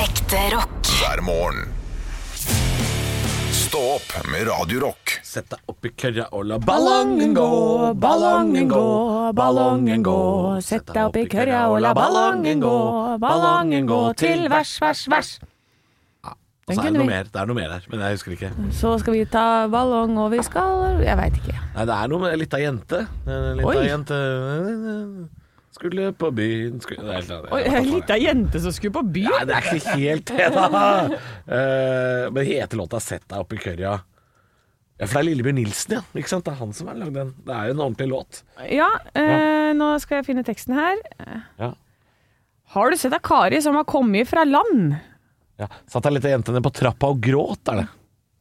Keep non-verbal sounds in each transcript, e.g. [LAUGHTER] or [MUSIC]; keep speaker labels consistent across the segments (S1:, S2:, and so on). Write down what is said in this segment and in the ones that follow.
S1: Ekte rock.
S2: hver morgen. Stå opp med Radio Rock.
S3: Sett deg opp i kørra og la ballongen gå, ballongen gå, ballongen gå. Sett deg opp i kørra og la ballongen gå, ballongen gå til vers, vers, vers. Og
S4: Den
S3: så er
S4: kunne
S3: det noe
S4: vi.
S3: mer, det er noe mer her, men jeg husker ikke.
S4: Så skal vi ta ballong, og vi skal Jeg veit ikke.
S3: Nei, det er noe med ei lita jente. En lita
S4: Oi.
S3: jente eh, skulle på byen skulle, det er helt annet.
S4: Oi, ei lita jente som skulle på
S3: Nei,
S4: byen?
S3: det er ikke helt det, da. Eh, men heter låta 'Sett deg opp i kørja'? Ja, for det er Lillebjørn Nilsen, ja. Ikke sant? Det er han som har lagd den. Det er jo en ordentlig låt.
S4: Ja, eh, nå skal jeg finne teksten her.
S3: Ja.
S4: Har du sett ei Kari som har kommet fra land?
S3: Ja. Satt ei lita jente nede på trappa og gråt, er det.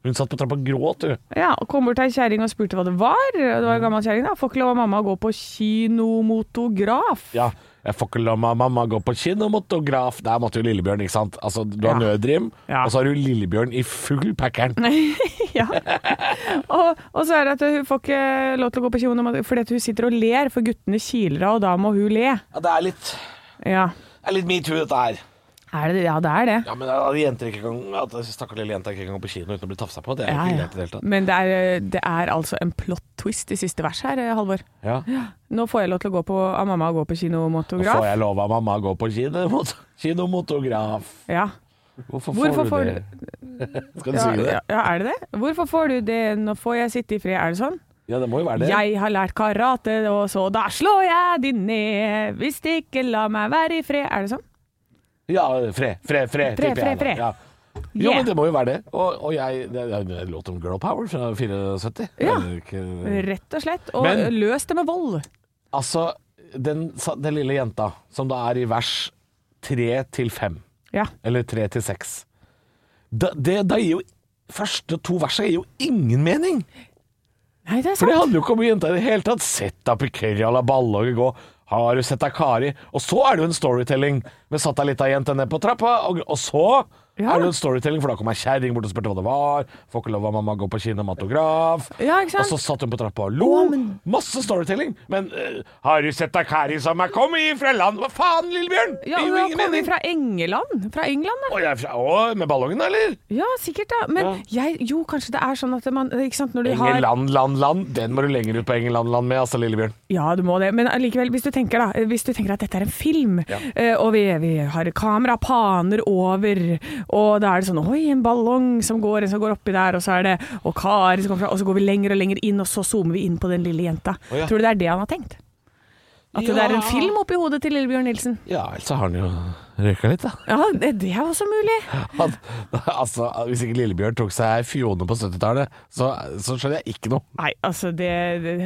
S3: Hun satt på trappa og gråt, du.
S4: Ja, og Kom bort til ei kjerring og spurte hva det var. Det var ei gammel kjerring. da. Får ikke lov av mamma å gå på kinomotograf.
S3: Ja. Jeg får ikke la ma- mamma gå på kinomotograf. Der måtte jo Lillebjørn, ikke sant. Altså, du har
S4: Ja.
S3: nødrim,
S4: Ja.
S3: og så har du Lillebjørn i full packeren.
S4: [LAUGHS] ja. og, og så er det at hun får ikke lov til å gå på kinomotograf fordi at hun sitter og ler, for guttene kiler av, og da må hun le.
S3: Ja, det er litt,
S4: Ja,
S3: det er litt metoo, dette her.
S4: er det, ja det er det.
S3: Ja, men at jenter ikke kan At stakkars lille jenter ikke kan gå på kino uten å bli tafsa på, det er
S4: Ja,
S3: ikke
S4: ja.
S3: greit i det hele tatt.
S4: Men det er, det er altså en plot twist i siste vers her, eh, Halvor.
S3: Ja.
S4: Nå får jeg lov til å gå på, av mamma å gå på
S3: Nå får
S4: kinomotograf.
S3: jeg lov av mamma å gå på kinomot kinomotograf.
S4: Ja.
S3: Hvorfor,
S4: Hvorfor
S3: får
S4: får
S3: du det? [LAUGHS] Skal du
S4: Ja,
S3: synge det?
S4: ja,
S3: Ja.
S4: ja, er det det? Hvorfor får du det? Nå får jeg sitte i fred, er det sånn?
S3: det må jo være det.
S4: Jeg har lært karate, og så da slår jeg de ned. Hvis de ikke lar meg være i fred. Er det sånn?
S3: Ja, fre, fre, fre,
S4: Fre,
S3: tipper jeg
S4: fre,
S3: da.
S4: fre.
S3: Ja. Jo,
S4: Yeah.
S3: men det må jo være det. Og, og jeg Det er en låt om girl power fra 74.
S4: Ja.
S3: Er det ikke-
S4: Rett og slett. Og
S3: Mm. Men-
S4: løs det med vold.
S3: Altså, den, sa- den lille jenta som da er i vers 3 til 5,
S4: Ja.
S3: eller 3 til 6 da, det, da gir jo første to versa gir jo ingen mening!
S4: Nei, det er
S3: For det
S4: sant.
S3: handler jo ikke om jenta i det hele tatt. Sett deg på kørja, la ballongen gå. Har du sett deg Kari? Og så er det jo en storytelling med satt deg litt av jente ned på trappa, og, og så
S4: Ja.
S3: er det jo en storytelling, for da kom ei kjerring bort og spurte hva det var. Får ikke lov av mamma å gå på kinematograf.
S4: Ja, ikke
S3: Og
S4: sant?
S3: så satt hun på trappa og lo. Masse storytelling. Men eh, har du sett deg Kari som er kommet ifra land? Hva faen, Lillebjørn?
S4: Ja,
S3: det gir jo
S4: og da
S3: ingen
S4: kommer vi
S3: mening.
S4: fra England. Fra England, da.
S3: Å, jeg er fra, å, med ballongen, eller?
S4: Ja, sikkert, da. Men jeg Jo, kanskje det er sånn at man Ikke sant, når du har
S3: Engeland, land, land. Den må du lenger ut på Engeland, land med, altså, Lillebjørn.
S4: Ja, du må det. Men allikevel, hvis du tenker da Hvis du tenker at dette er en film, eh, og vi, vi har kamera, paner over, og da er det sånn Oi, en ballong som går, en som går oppi der, og så er det Og Kari som kommer fra Og så går vi lenger og lenger inn, og så zoomer vi inn på den lille jenta.
S3: Å, ja.
S4: Tror du det er det han har tenkt? At det er
S3: Ja.
S4: en film oppi hodet til Lillebjørn Nilsen?
S3: Ja, ellers så har han jo røyka litt, da.
S4: Ja, det, det er også mulig.
S3: Han, altså, hvis ikke Lillebjørn tok seg fjone på 70-tallet, så, så skjønner jeg ikke noe.
S4: Nei, altså det,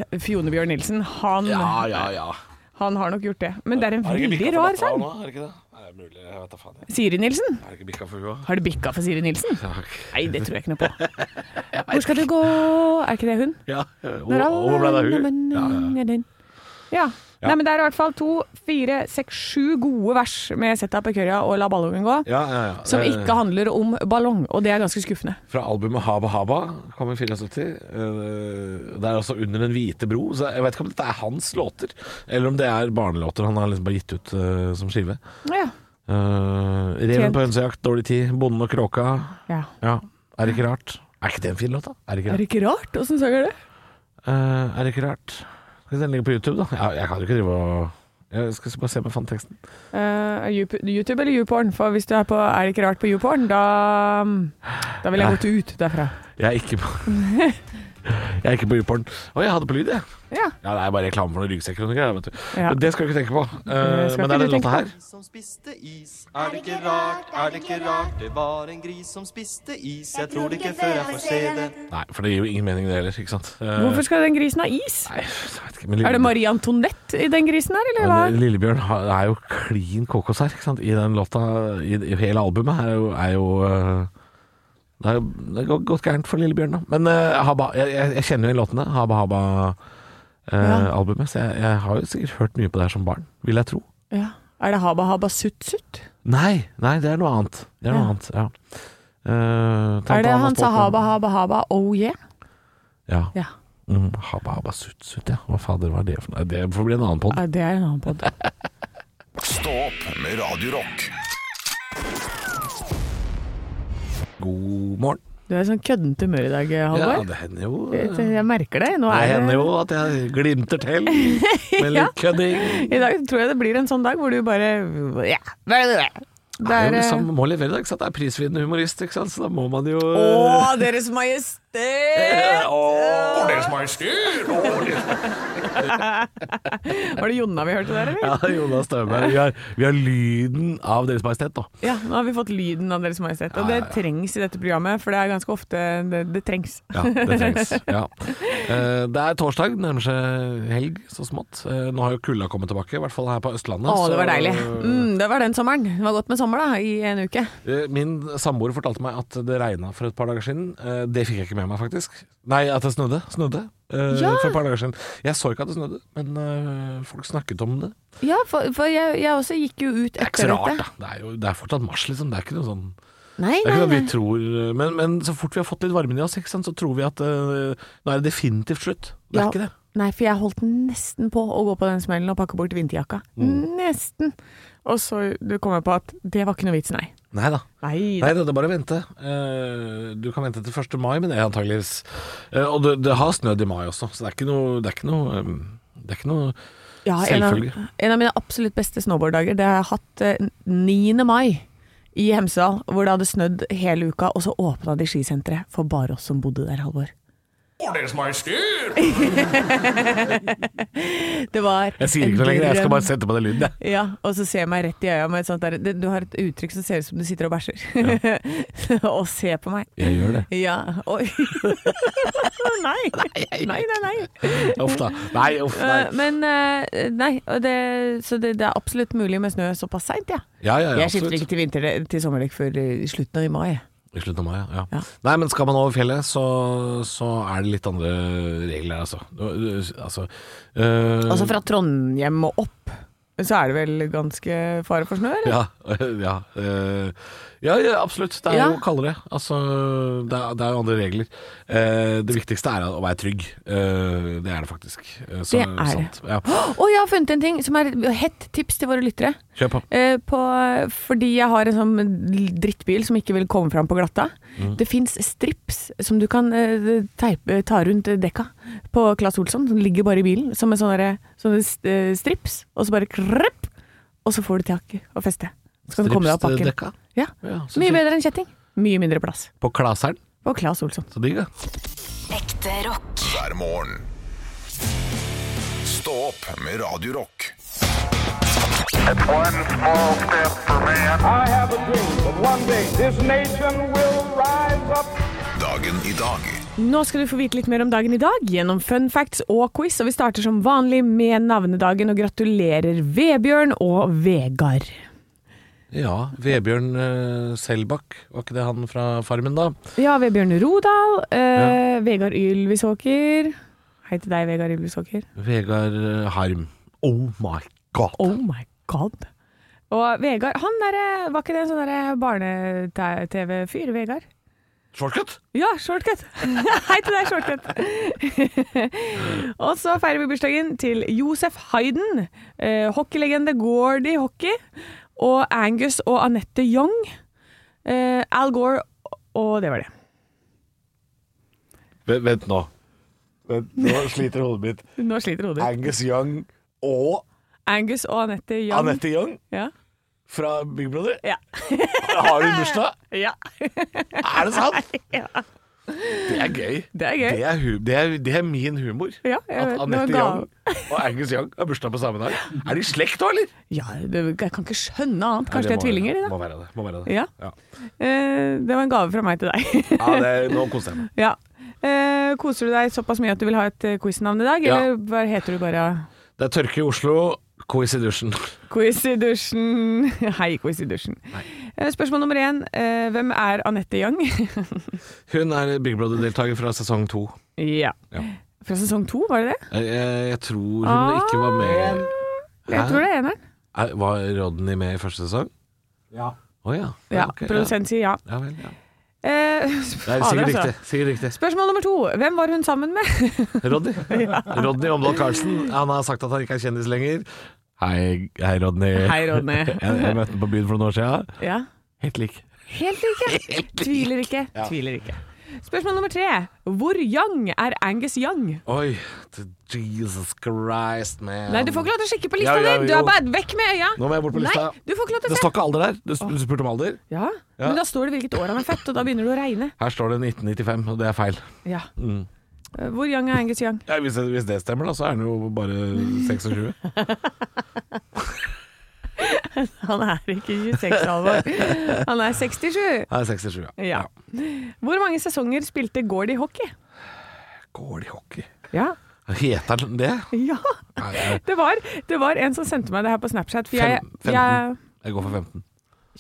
S4: det Fjonebjørn Nilsen, han,
S3: ja, ja.
S4: han har nok gjort det. Men det er en veldig rar sang.
S3: Er det ikke det? Nei, det er mulig. Jeg vet da faen.
S4: Siri Nilsen?
S3: Er det ikke bikka for henne?
S4: Har du bikka for Siri Nilsen? Nei, det tror jeg ikke noe
S3: [LAUGHS]
S4: på. Hvor skal du gå Er ikke det hun?
S3: Ja. Hvor hvor ble det av hun? Ja, ja.
S4: Ja, Nei, men Det er i hvert fall to, fire, seks, sju gode vers med 'Sett deg på kørja og la ballongen gå',
S3: Ja, ja, ja.
S4: som ikke handler om ballong, og det er ganske skuffende.
S3: Fra albumet Haba Haba kom i 74. Eh, Det er altså Under den hvite bro, så jeg vet ikke om dette er hans låter, eller om det er barnelåter han har liksom bare gitt ut eh, som skive.
S4: Ja.
S3: Eh, Reven
S4: Tjent.
S3: på hønsejakt, Dårlig tid, Bonden og kråka.
S4: ja.
S3: Ja, er det ikke rart? Er ikke det en fin låt, da? Er det ikke
S4: Er
S3: rart?
S4: det ikke rart? Åssen sang er det?
S3: Eh, er det ikke rart? Skal den ligge på YouTube, da? Jeg, jeg kan jo ikke drive og Jeg skal bare se om jeg fant teksten.
S4: Eh, YouTube- YouTube eller YouPorn? For hvis du er på Er det ikke rart på YouPorn, da Da ville jeg gått ut derfra.
S3: Jeg er ikke på [LAUGHS] Jeg er ikke på YouPorn. Å, jeg hadde på lyd, jeg.
S4: Ja.
S3: Ja, det er bare reklame for noen ryggsekker og noe greier, vet du.
S4: Ja.
S3: Men det skal du ikke tenke på. Eh,
S4: Det skal
S3: men det
S4: ikke
S3: er
S4: du
S3: den låta
S4: tenke
S3: her.
S5: som spiste is. Er det ikke rart, er det ikke rart? Det var en gris som spiste is. Jeg tror det ikke før jeg får se det.
S3: Nei, for det gir jo ingen mening, det heller, ikke sant. Eh,
S4: Hvorfor skal den grisen ha is?
S3: Nei, jeg vet ikke. Men
S4: Er det Marie Antoinette i den grisen her, eller hva?
S3: Men Lillebjørn har- er jo klin kokos her, ikke sant? I den låta, i, i hele albumet her er jo, er jo eh, det er jo det går godt gærent for Lillebjørn, da. Men eh, haba, jeg, jeg, jeg kjenner jo låtene, Haba
S4: Ja.
S3: Haba-albumet, så jeg, jeg har jo sikkert hørt mye på det her som barn, vil jeg tro.
S4: Ja. Er det Haba Haba Sutt Sutt?
S3: Nei, nei, det er noe annet. Det er noe
S4: Ja.
S3: annet, ja. Eh, Tante
S4: Er det
S3: Anna
S4: han sa
S3: Stoltenberg.
S4: Haba Haba Haba Oh Yeah?
S3: Ja.
S4: Ja.
S3: Mm, haba Haba Sutt Sutt, ja. Hva fader var det for noe? Det får bli en annen podd.
S4: Ja, det er en annen podd.
S2: Stå opp med Radio Rock.
S3: God morgen.
S4: Du er i sånn køddent humør i dag,
S3: Ja,
S4: Halvor.
S3: det hender jo
S4: Jeg jeg merker det. Nå
S3: Det
S4: er
S3: hender
S4: det
S3: jo at jeg glimter
S4: [LAUGHS]
S3: til med
S4: Ja.
S3: litt kødding.
S4: I dag tror jeg det blir en sånn dag hvor du bare Ja, hva er det der?
S3: Det er jo
S4: eh,
S3: liksom, må levere det, ikke sant? Det er prisvinnende humorist, ikke sant? Så da må man jo
S4: Å, eh, Deres
S3: Eh,
S4: Majestet!
S3: Åh.
S4: Var det Jonna vi hørte der, eller?
S3: Ja, Jonas Støme. Vi har, vi har lyden av Deres Majestet, da.
S4: Ja, nå har vi fått lyden av Deres Majestet. Og det trengs i dette programmet, for det er ganske ofte det, det trengs.
S3: Ja, det trengs. Ja. Eh, Det er torsdag, det nærmer seg helg så smått. Eh, Nå har jo kulda kommet tilbake, i hvert fall her på Østlandet.
S4: Å, det var
S3: så-
S4: deilig. Mm, det var den sommeren. Det var godt med sommer, da, i en uke.
S3: Eh, Min samboer fortalte meg at det regna for et par dager siden. Eh, Det fikk jeg ikke med meg, faktisk. Nei, at det snødde. Snødde. eh,
S4: Ja.
S3: For et par dager siden. Jeg så ikke at det snødde, men eh, folk snakket om det.
S4: Ja, for, for jeg, jeg også gikk jo ut
S3: Det er ikke så
S4: etter
S3: rart,
S4: dette.
S3: da. Det er, jo, det er fortsatt mars, liksom. Det er ikke noe sånn
S4: Nei,
S3: det er ikke
S4: nei,
S3: noe
S4: nei.
S3: vi tror eh, men, men så fort vi har fått litt varmen i oss, ikke sant, så tror vi at eh, nå er det definitivt slutt. Det er
S4: Ja.
S3: ikke det.
S4: nei, for jeg holdt nesten på å gå på den smellen og pakke bort vinterjakka.
S3: Mm.
S4: Nesten. Og så du kom jeg på at det var ikke noe vits, nei.
S3: Nei da.
S4: Nei,
S3: Nei, det er bare å vente. Eh, Du kan vente til 1. mai, men det er antageligvis Eh, Og det, det har snødd i mai også, så det er ikke noe, det er ikke noe eh, det er ikke noe
S4: ja, en, av,
S3: selvfølgelig.
S4: en av mine absolutt beste snowboarddager, det har jeg hatt eh, 9. mai i Hemsedal, hvor det hadde snødd hele uka, og så åpna de skisenteret for bare oss som bodde der, Halvor. [LAUGHS] Det var
S3: Jeg sier ikke noe
S4: en
S3: lenger, jeg skal
S4: drøm.
S3: bare sette på den lyden. jeg.
S4: Ja, og så ser jeg meg rett i øya med et sånt der det- Du har et uttrykk som ser ut som du sitter og bæsjer. [LAUGHS] og ser på meg.
S3: Jeg gjør det.
S4: Ja. Oi. [LAUGHS] nei. Nei, nei, nei.
S3: [LAUGHS] Uff da. Nei, uff. Nei.
S4: Eh, Men eh, nei, og det, så det, det er absolutt mulig med snø såpass seint, ja.
S3: Ja, ja, ja,
S4: Jeg skifter
S3: absolutt.
S4: ikke til, vinter, til sommerdekk før eh, slutten av i mai.
S3: I slutten av mai, ja.
S4: Ja.
S3: ja. Nei, men skal man over fjellet, så, så er det litt andre regler, altså. Du- du- altså eh,
S4: Altså fra Trondheim og opp, så er det vel ganske fare for snø, eller?
S3: ja, [LAUGHS] ja, eh, ja, ja, absolutt. Det er
S4: Ja.
S3: jo kaldere. Altså, det er, det er jo andre regler. Eh, det viktigste er å være trygg. Eh, det er det faktisk. Eh, så,
S4: Det er det.
S3: sant. Ja.
S4: Å, jeg har funnet en ting som er et hett tips til våre lyttere.
S3: Kjør på.
S4: Eh, på, fordi jeg har en sånn drittbil som ikke vil komme fram på glatta.
S3: Mm.
S4: Det fins strips som du kan eh, teipe, ta rundt dekka på Claes Olsson, som ligger bare i bilen. Som en sånn derre- sånne s- eh, strips, og så bare krøpp, og så får du tak og feste. Så kan du komme deg av pakken.
S3: Stripsdekka.
S4: Ja.
S3: Ja, så
S4: Mye
S3: fint.
S4: bedre enn kjetting. Mye mindre plass.
S3: På Klaseren.
S4: Og Claes Olsson.
S3: Så digg, da.
S1: Ekte rock.
S2: hver morgen. Stå opp med Radio Rock.
S6: One small step for man.
S7: I have a dream that one day this nation will rise up.
S2: Dagen i dag
S4: Nå skal du få vite litt mer om dagen i dag gjennom fun facts og quiz, og vi starter som vanlig med navnedagen, og gratulerer Vebjørn og Vegard.
S3: Ja. Vebjørn eh, Selbakk, var ikke det han fra Farmen, da?
S4: Ja, Vebjørn Rodal. Eh, Vegard Ylvisåker. Hei til deg, Vegard Ylvisåker.
S3: Vegard eh, Harm. Oh my god.
S4: Oh my god. Og Vegard, han derre Var ikke det en sånn derre barne-TV-fyr, Vegard?
S3: Shortcut?
S4: Ja, shortcut! [LAUGHS] Hei til deg, shortcut! [LAUGHS] og så feirer vi bursdagen til Josef Hayden, eh, hockeylegende Gordy Hockey, og Angus og Anette Young, eh, Al Gore, og det var det.
S3: Vent, vent nå. Vent, nå sliter hodet mitt.
S4: Nå sliter hodet.
S3: Angus Young og
S4: Angus og Anette Young.
S3: Anette Young
S4: Ja.
S3: fra Big Brother.
S4: Ja.
S3: Har hun bursdag?
S4: [LAUGHS] ja.
S3: Er det sant? Det er gøy.
S4: Det er gøy.
S3: Det er, hu det er, det er min humor.
S4: Ja, jeg vet.
S3: At
S4: Nå
S3: Anette
S4: ga-
S3: Young og Angus Young har bursdag på samme dag. Er de i slekt da, eller?
S4: Ja, det, jeg kan ikke skjønne annet.
S3: Nei,
S4: Kanskje det er
S3: må
S4: tvillinger,
S3: være-
S4: de da.
S3: Må være det. Må være det.
S4: Ja.
S3: Ja.
S4: Eh, det var en gave fra meg til deg. [LAUGHS]
S3: Ja, det, nå koser jeg meg.
S4: ja. Eh, koser du deg såpass mye at du vil ha et eh, quiznavn i dag,
S3: Ja.
S4: eller bare heter du bare
S3: Det er tørke i Oslo, quiz i dusjen.
S4: Quiz i dusjen? [LAUGHS] Hei, quiz i dusjen. Eh, spørsmål nummer én. Eh, hvem er Anette Young? [LAUGHS]
S3: Hun er Big Brother-deltaker fra sesong to.
S4: ja.
S3: Ja.
S4: Fra sesong to, var det det?
S3: Jeg, jeg, jeg tror hun
S4: Ah.
S3: ikke var med
S4: Jeg
S3: Hæ?
S4: tror det er eneren.
S3: er, Var Rodney med i første sesong? Ja. Å ja.
S4: Ja,
S3: ok,
S4: Produsent sier ja.
S3: Ja vel, ja. Det er
S4: Eh, [LAUGHS]
S3: sikkert
S4: fader, altså.
S3: riktig. Sikkert riktig.
S4: Spørsmål nummer to. Hvem var hun sammen
S3: [LAUGHS]
S4: med?
S3: Rodney.
S4: [LAUGHS]
S3: Rodney Omblad Karlsen. Han har sagt at han ikke er kjendis lenger. Hei, hei Rodney.
S4: Hei, Rodney.
S3: [LAUGHS] Jeg, jeg møtte han på byen for noen år siden.
S4: ja.
S3: Helt lik.
S4: Helt
S3: [LAUGHS]
S4: like. Tviler ikke. Tviler ikke. Spørsmål nummer tre. Hvor young er Angus Young?
S3: Oi, t- Jesus Christ, man.
S4: Nei, du får ikke lov til å kikke på lista
S3: Ja, ja,
S4: di! Du er
S3: jo.
S4: bare vekk med øya!
S3: Nå må jeg bort på lista.
S4: Nei, du får ikke lov til
S3: Det
S4: å se.
S3: står ikke alder der. Du sp- du spurte om alder.
S4: Ja,
S3: Ja.
S4: Men da står det hvilket år han er født, og da begynner det å regne.
S3: Her står det 1995, og det er feil.
S4: Ja.
S3: Mm.
S4: Eh, Hvor young er Angus Young?
S3: Ja, hvis, hvis det stemmer, da, så er den jo bare 26.
S4: [LAUGHS] [LAUGHS] Han er ikke 26, Halvor. [LAUGHS] Han er 67.
S3: Nei, 67, ja.
S4: Ja. Hvor mange sesonger spilte Gord i hockey?
S3: Går det i hockey?
S4: Ja.
S3: Heter den det?
S4: ja.
S3: Nei, jeg,
S4: Det, var, det var en som sendte meg det her på Snapchat, for jeg,
S3: Fem-
S4: jeg er
S3: jeg går for 15.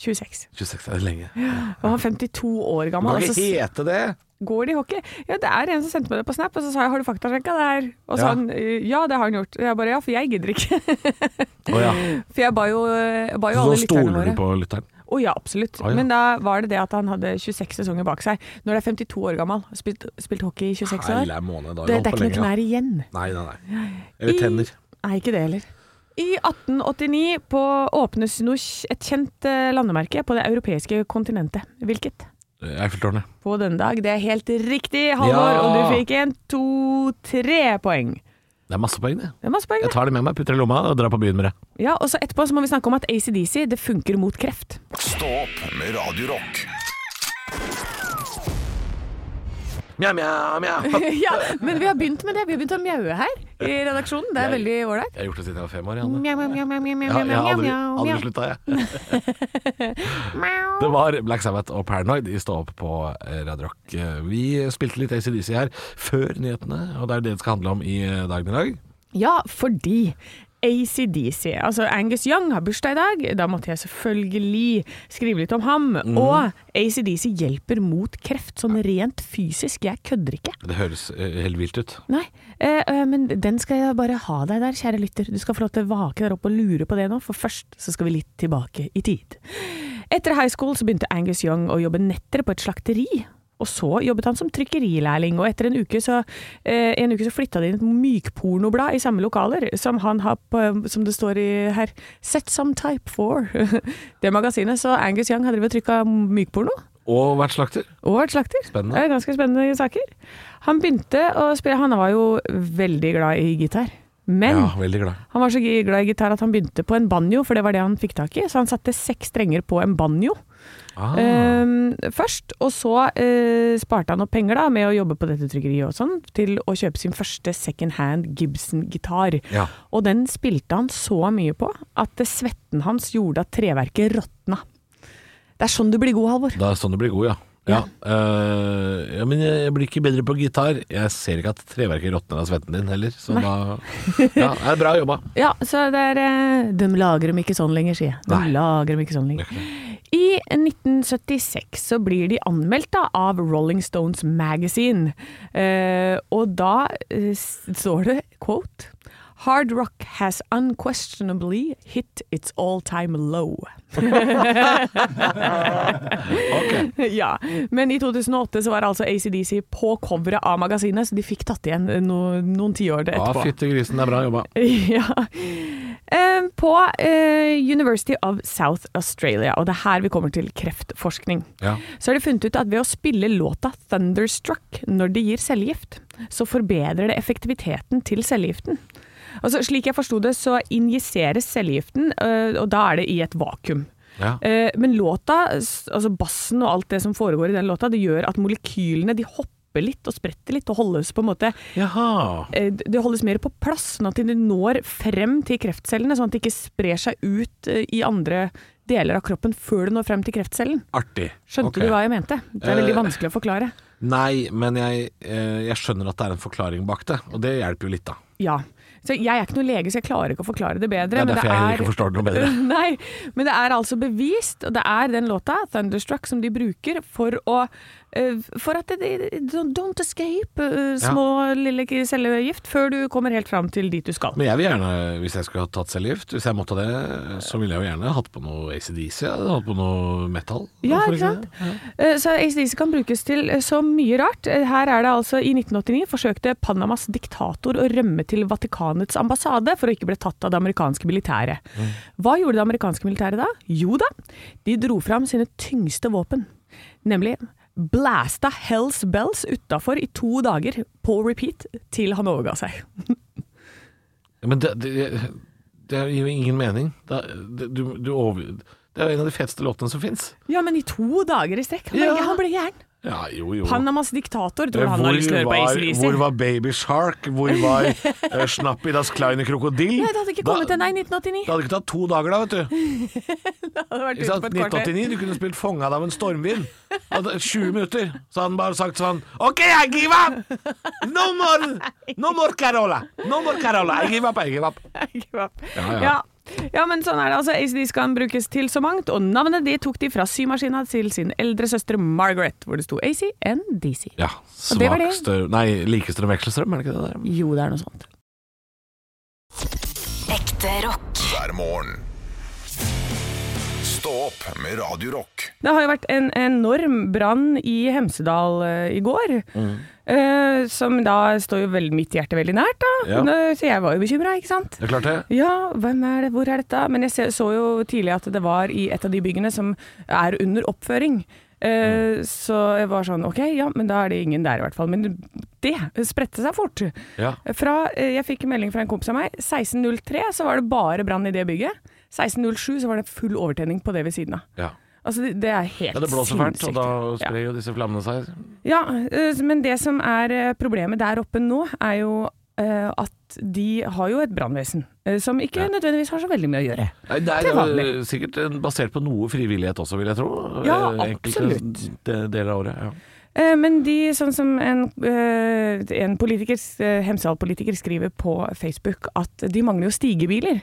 S4: 26.
S3: 26 er det lenge. Det
S4: Og han er 52 år gammel.
S3: kan
S4: Altså,
S3: ikke hete det!
S4: går det i hockey? Ja, det er en som sendte meg det på Snap, og så sa jeg 'har du faktasjekka det her?' Og så
S3: Ja.
S4: han "Eh, 'ja, det har han gjort'. Og jeg bare 'ja, for jeg gidder ikke'. [LAUGHS]
S3: Å ja.
S4: For jeg ba jo, jeg ba jo
S3: Så nå
S4: alle lytterne
S3: stoler
S4: våre.
S3: du på lytteren?
S4: Å ja, absolutt.
S3: Å ja.
S4: Men da var det det at han hadde 26 sesonger bak seg. Når det er 52 år gammel, spilt, spilt hockey i 26 år.
S3: Hele måned, da.
S4: Det,
S3: Jeg holdt
S4: det er
S3: på lenge,
S4: ikke noe
S3: da.
S4: knær igjen.
S3: Nei, nei, nei. Eller tenner.
S4: Nei, ikke det heller. I 1889 på åpnes noe, kj- et kjent eh, landemerke på det europeiske kontinentet. Hvilket?
S3: Eiffeltårnet.
S4: På denne dag. Det er helt riktig, Halvor.
S3: Ja!
S4: Og du fikk en, to, tre poeng.
S3: Det er masse poeng, det.
S4: Det er masse poeng.
S3: Jeg
S4: det.
S3: tar det med meg, putter det i lomma og drar på byen med det.
S4: Ja, og så etterpå så må vi snakke om at ACDC det funker mot kreft.
S2: Stå opp med Radio Rock.
S3: Mjau, mjau, mjau.
S4: [LAUGHS] [LAUGHS] ja, men vi har begynt med det. Vi har begynt å mjaue her i redaksjonen. Det er veldig ålreit.
S3: Jeg har gjort det siden jeg var fem år, Janne.
S4: Mjau, mjau, mjau, mjau, mjau,
S3: Jeg,
S4: mjau,
S3: har- jeg har
S4: mjau,
S3: aldri,
S4: mjau,
S3: aldri
S4: mjau.
S3: slutta, jeg. Det var Black Sabbath og Paranoid i Stå opp på eh, Radio Rock. Eh, Vi spilte litt ACDC her før nyhetene, og det er jo det det skal handle om i eh, dagen i dag.
S4: Ja, fordi ACDC, altså Angus Young, har bursdag i dag. Da måtte jeg selvfølgelig skrive litt om ham.
S3: Mhm.
S4: Og ACDC hjelper mot kreft, sånn rent fysisk. Jeg kødder ikke.
S3: Det høres eh, helt vilt ut.
S4: Nei, eh, eh, men den skal jeg bare ha deg der, kjære lytter. Du skal få lov til å vake der oppe og lure på det nå, for først så skal vi litt tilbake i tid. Etter high school så begynte Angus Young å jobbe netter på et slakteri. Og så jobbet han som trykkerilærling, og etter en uke så, eh, en uke så flytta de inn et mykpornoblad i samme lokaler, som han har, på, som det står i her, Set some type for. [LAUGHS] det magasinet. Så Angus Young har drevet og trykka mykporno.
S3: Og vært slakter.
S4: Og vært slakter.
S3: Spennende.
S4: Det er ganske spennende saker. Han begynte å spille Han var jo veldig glad i gitar. Men
S3: Ja, veldig glad.
S4: han var så gi- glad i gitar at han begynte på en banjo, for det var det han fikk tak i. Så han satte seks strenger på en banjo
S3: Ah,
S4: ehm, først. Og så eh, sparte han opp penger da, med å jobbe på dette trykkeriet og sånn, til å kjøpe sin første second hand Gibson-gitar.
S3: Ja.
S4: Og den spilte han så mye på at eh, svetten hans gjorde at treverket råtna. Det er sånn du blir god, Halvor.
S3: Da er det sånn du blir god, ja. Ja. eh, ja, men jeg blir ikke bedre på gitar. Jeg ser ikke at treverket råtner av svetten din heller, så da Ja, det er bra jobba.
S4: [LAUGHS] Ja, så det er eh, De lager dem ikke sånn lenger, sier jeg. De
S3: Nei.
S4: lager dem ikke sånn lenger. I 1976 så blir de anmeldt da, av Rolling Stones Magazine. Eh, og da eh, s- står det, quote Hard rock has unquestionably hit its all time low. [LAUGHS] ja, Men i 2008 så var altså ACDC på coveret av magasinet, så de fikk tatt igjen eh, no, noen tiår
S3: Ja,
S4: etterpå.
S3: fytti grisen, det er bra jobba.
S4: [LAUGHS] Ja. Eh, På eh, University of South Australia, og det er her vi kommer til kreftforskning,
S3: Ja.
S4: så har de funnet ut at ved å spille låta 'Thunderstruck' når de gir cellegift, så forbedrer det effektiviteten til cellegiften. Altså, slik jeg forsto det, så injiseres cellegiften, eh, og da er det i et vakuum.
S3: Ja.
S4: Eh, Men låta, s- altså bassen og alt det som foregår i den låta, det gjør at molekylene de hopper litt og spretter litt og holdes på en måte
S3: Jaha.
S4: eh, det holdes mer på plass, sånn at de når frem til kreftcellene, sånn at det ikke sprer seg ut eh, i andre deler av kroppen før det når frem til kreftcellen.
S3: Artig.
S4: Skjønte
S3: Ok.
S4: du hva jeg mente? Det er veldig
S3: Eh,
S4: vanskelig å forklare.
S3: Nei, men jeg, eh, jeg skjønner at det er en forklaring bak det, og det hjelper jo litt, da.
S4: Ja. Så jeg er ikke noen lege, så jeg klarer ikke å forklare det bedre.
S3: Det er
S4: men
S3: derfor jeg heller ikke forstår det noe bedre.
S4: [LAUGHS] Nei, men det er altså bevist, og det er den låta, 'Thunderstruck', som de bruker for å eh, For at det, don't, don't escape, eh, små, lille cellegift, før du kommer helt fram til dit du skal.
S3: [LAUGHS] Men jeg vil gjerne, hvis jeg skulle ha tatt cellegift, hvis jeg måtte det, så ville jeg jo gjerne hatt på noe ACDC, jeg hadde hatt på noe metal.
S4: Ja,
S3: hvorfor
S4: ikke sant? Eh, Så ACDC kan brukes til eh, så mye rart. Eh, Her er det altså i 1989 forsøkte Panamas diktator å rømme til landets ambassade for å ikke bli tatt av det amerikanske militæret. Hva gjorde det amerikanske militæret da? Jo da, de dro fram sine tyngste våpen. Nemlig blasta Hells Bells utafor i to dager på repeat til han overga seg.
S3: Men det, det, det gir jo ingen mening. Det, det, du, du over, det er jo en av de feteste låtene som fins.
S4: Ja, men i to dager i strekk. Han ble,
S3: Ja.
S4: han ble gæren.
S3: Ja, jo, jo.
S4: Panamas diktator tror han har lyst til å høre på
S3: var, hvor
S4: ACDC.
S3: var Baby Shark? Hvor
S4: [LAUGHS]
S3: var uh, Snappi das kleine krokodille?
S4: Nei, det hadde ikke
S3: Da-
S4: kommet til nei, 1989.
S3: det hadde ikke tatt to dager da, vet du.
S4: Det hadde
S3: Ikke
S4: vært ute
S3: sant?
S4: på et kvarter.
S3: 1989, du kunne spilt fanga av en stormvind. Hadde 20 minutter. Så hadde han bare sagt sånn OK, I give up! No more, no more Carola! No more Carola! I give up, I give up.
S4: [LAUGHS] Ikke sant?
S3: Ja, ja.
S4: ja. Ja, men sånn er det. altså. ACDC kan brukes til så mangt, og navnet det tok de fra symaskina til sin eldre søster Margaret, hvor det sto AC and DC.
S3: Ja,
S4: Og det var det.
S3: svakstrøm Nei, likestrøm, vekselstrøm, er det ikke det der?
S4: Jo, det er noe sånt.
S1: Ekte rock.
S2: hver morgen. Stå opp med Radio Rock.
S4: Det har jo vært en enorm brann i Hemsedal eh, i går,
S3: Mm.
S4: eh, som da står jo vel mitt hjerte veldig nært, da.
S3: Ja.
S4: Nå- Så jeg var jo bekymra, ikke sant.
S3: Det er klart det.
S4: Ja, hvem er det, hvor er dette? Men jeg se- så jo tidlig at det var i et av de byggene som er under oppføring.
S3: Mm.
S4: Eh, Så jeg var sånn, ok, ja, men da er det ingen der i hvert fall. Men det spredte seg fort.
S3: Ja.
S4: Fra, eh, jeg fikk en melding fra en kompis av meg, 16.03 så var det bare brann i det bygget. 16.07 så var det full overtenning på det ved siden av.
S3: Ja.
S4: Altså, det, det er helt
S3: Ja, det blåser fælt, og da
S4: sinnssykt. Ja.
S3: sprer jo disse flammene seg.
S4: Ja, eh, men det som er eh, problemet der oppe nå, er jo eh, at de har jo et brannvesen eh, som ikke nødvendigvis har så veldig mye å gjøre.
S3: Nei, det er,
S4: Til vanlig.
S3: jo sikkert eh, basert på noe frivillighet også, vil jeg tro.
S4: Ja,
S3: Eh, enkelte
S4: absolutt.
S3: de- Deler av året. Ja.
S4: Eh, Men de, sånn som en, eh, en politiker, eh, Hemsedal-politiker skriver på Facebook at de mangler jo stigebiler.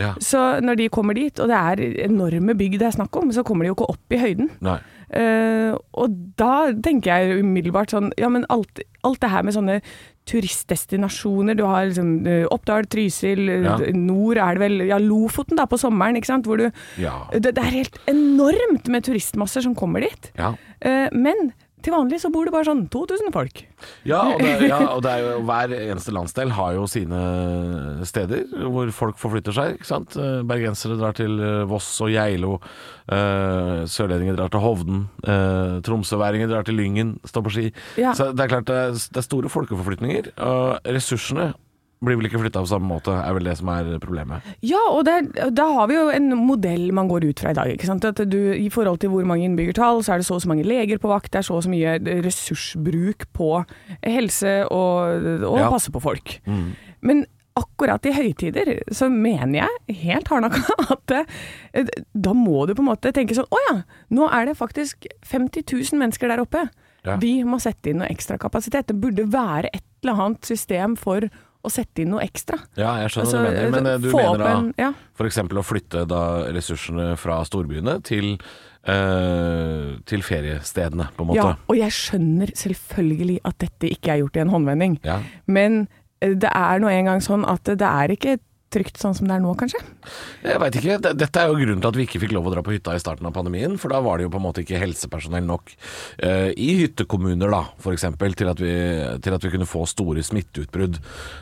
S3: Ja.
S4: Så når de kommer dit, og det er enorme bygg det er snakk om, så kommer de jo ikke opp i høyden.
S3: Nei.
S4: Eh, og da tenker jeg umiddelbart sånn Ja, men alt, alt det her med sånne turistdestinasjoner Du har liksom eh, Oppdal, Trysil, eh,
S3: Ja.
S4: nord er det vel Ja, Lofoten da, på sommeren, ikke sant? Hvor du
S3: Ja.
S4: det, det er helt enormt med turistmasser som kommer dit.
S3: Ja.
S4: Eh, men til vanlig så bor det bare sånn 2000 folk.
S3: Ja, og det, ja, og det er jo, hver eneste landsdel har jo sine steder hvor folk forflytter seg. ikke sant? Eh, Bergensere drar til eh, Voss og Geilo. eh, Sørlendinger drar til Hovden. eh, Tromsøværinger drar til Lyngen, står på ski.
S4: Ja.
S3: Så det er klart det er, det er store folkeforflytninger. Og ressursene blir vel ikke flytta på samme måte, er vel det som er problemet.
S4: Ja, og det, er- da har vi jo en modell man går ut fra i dag. ikke sant? At du, I forhold til hvor mange innbyggertall, så er det så og så mange leger på vakt, det er så og så mye ressursbruk på helse og, og
S3: Ja. Mm.
S4: passe på folk. Men akkurat i høytider så mener jeg helt hardnakka [LAUGHS] at eh, da må du på en måte tenke sånn Å ja, nå er det faktisk 50 000 mennesker der oppe.
S3: Ja.
S4: Vi må sette inn noe ekstra kapasitet. Det burde være et eller annet system for å sette inn noe ekstra.
S3: Ja, jeg skjønner
S4: Altså,
S3: hva du mener, men eh, du
S4: få opp
S3: mener da
S4: en- ja.
S3: f.eks. å flytte da ressursene fra storbyene til, eh, til feriestedene, på en måte.
S4: Ja, og jeg skjønner selvfølgelig at dette ikke er gjort i en håndvending.
S3: Ja.
S4: Men eh, det er nå engang sånn at det er ikke trygt sånn som det er nå, kanskje.
S3: Jeg veit ikke. D- Dette er jo grunnen til at vi ikke fikk lov å dra på hytta i starten av pandemien. For da var det jo på en måte ikke helsepersonell nok eh, i hyttekommuner, da, f.eks., til, at vi- til at vi kunne få store smitteutbrudd.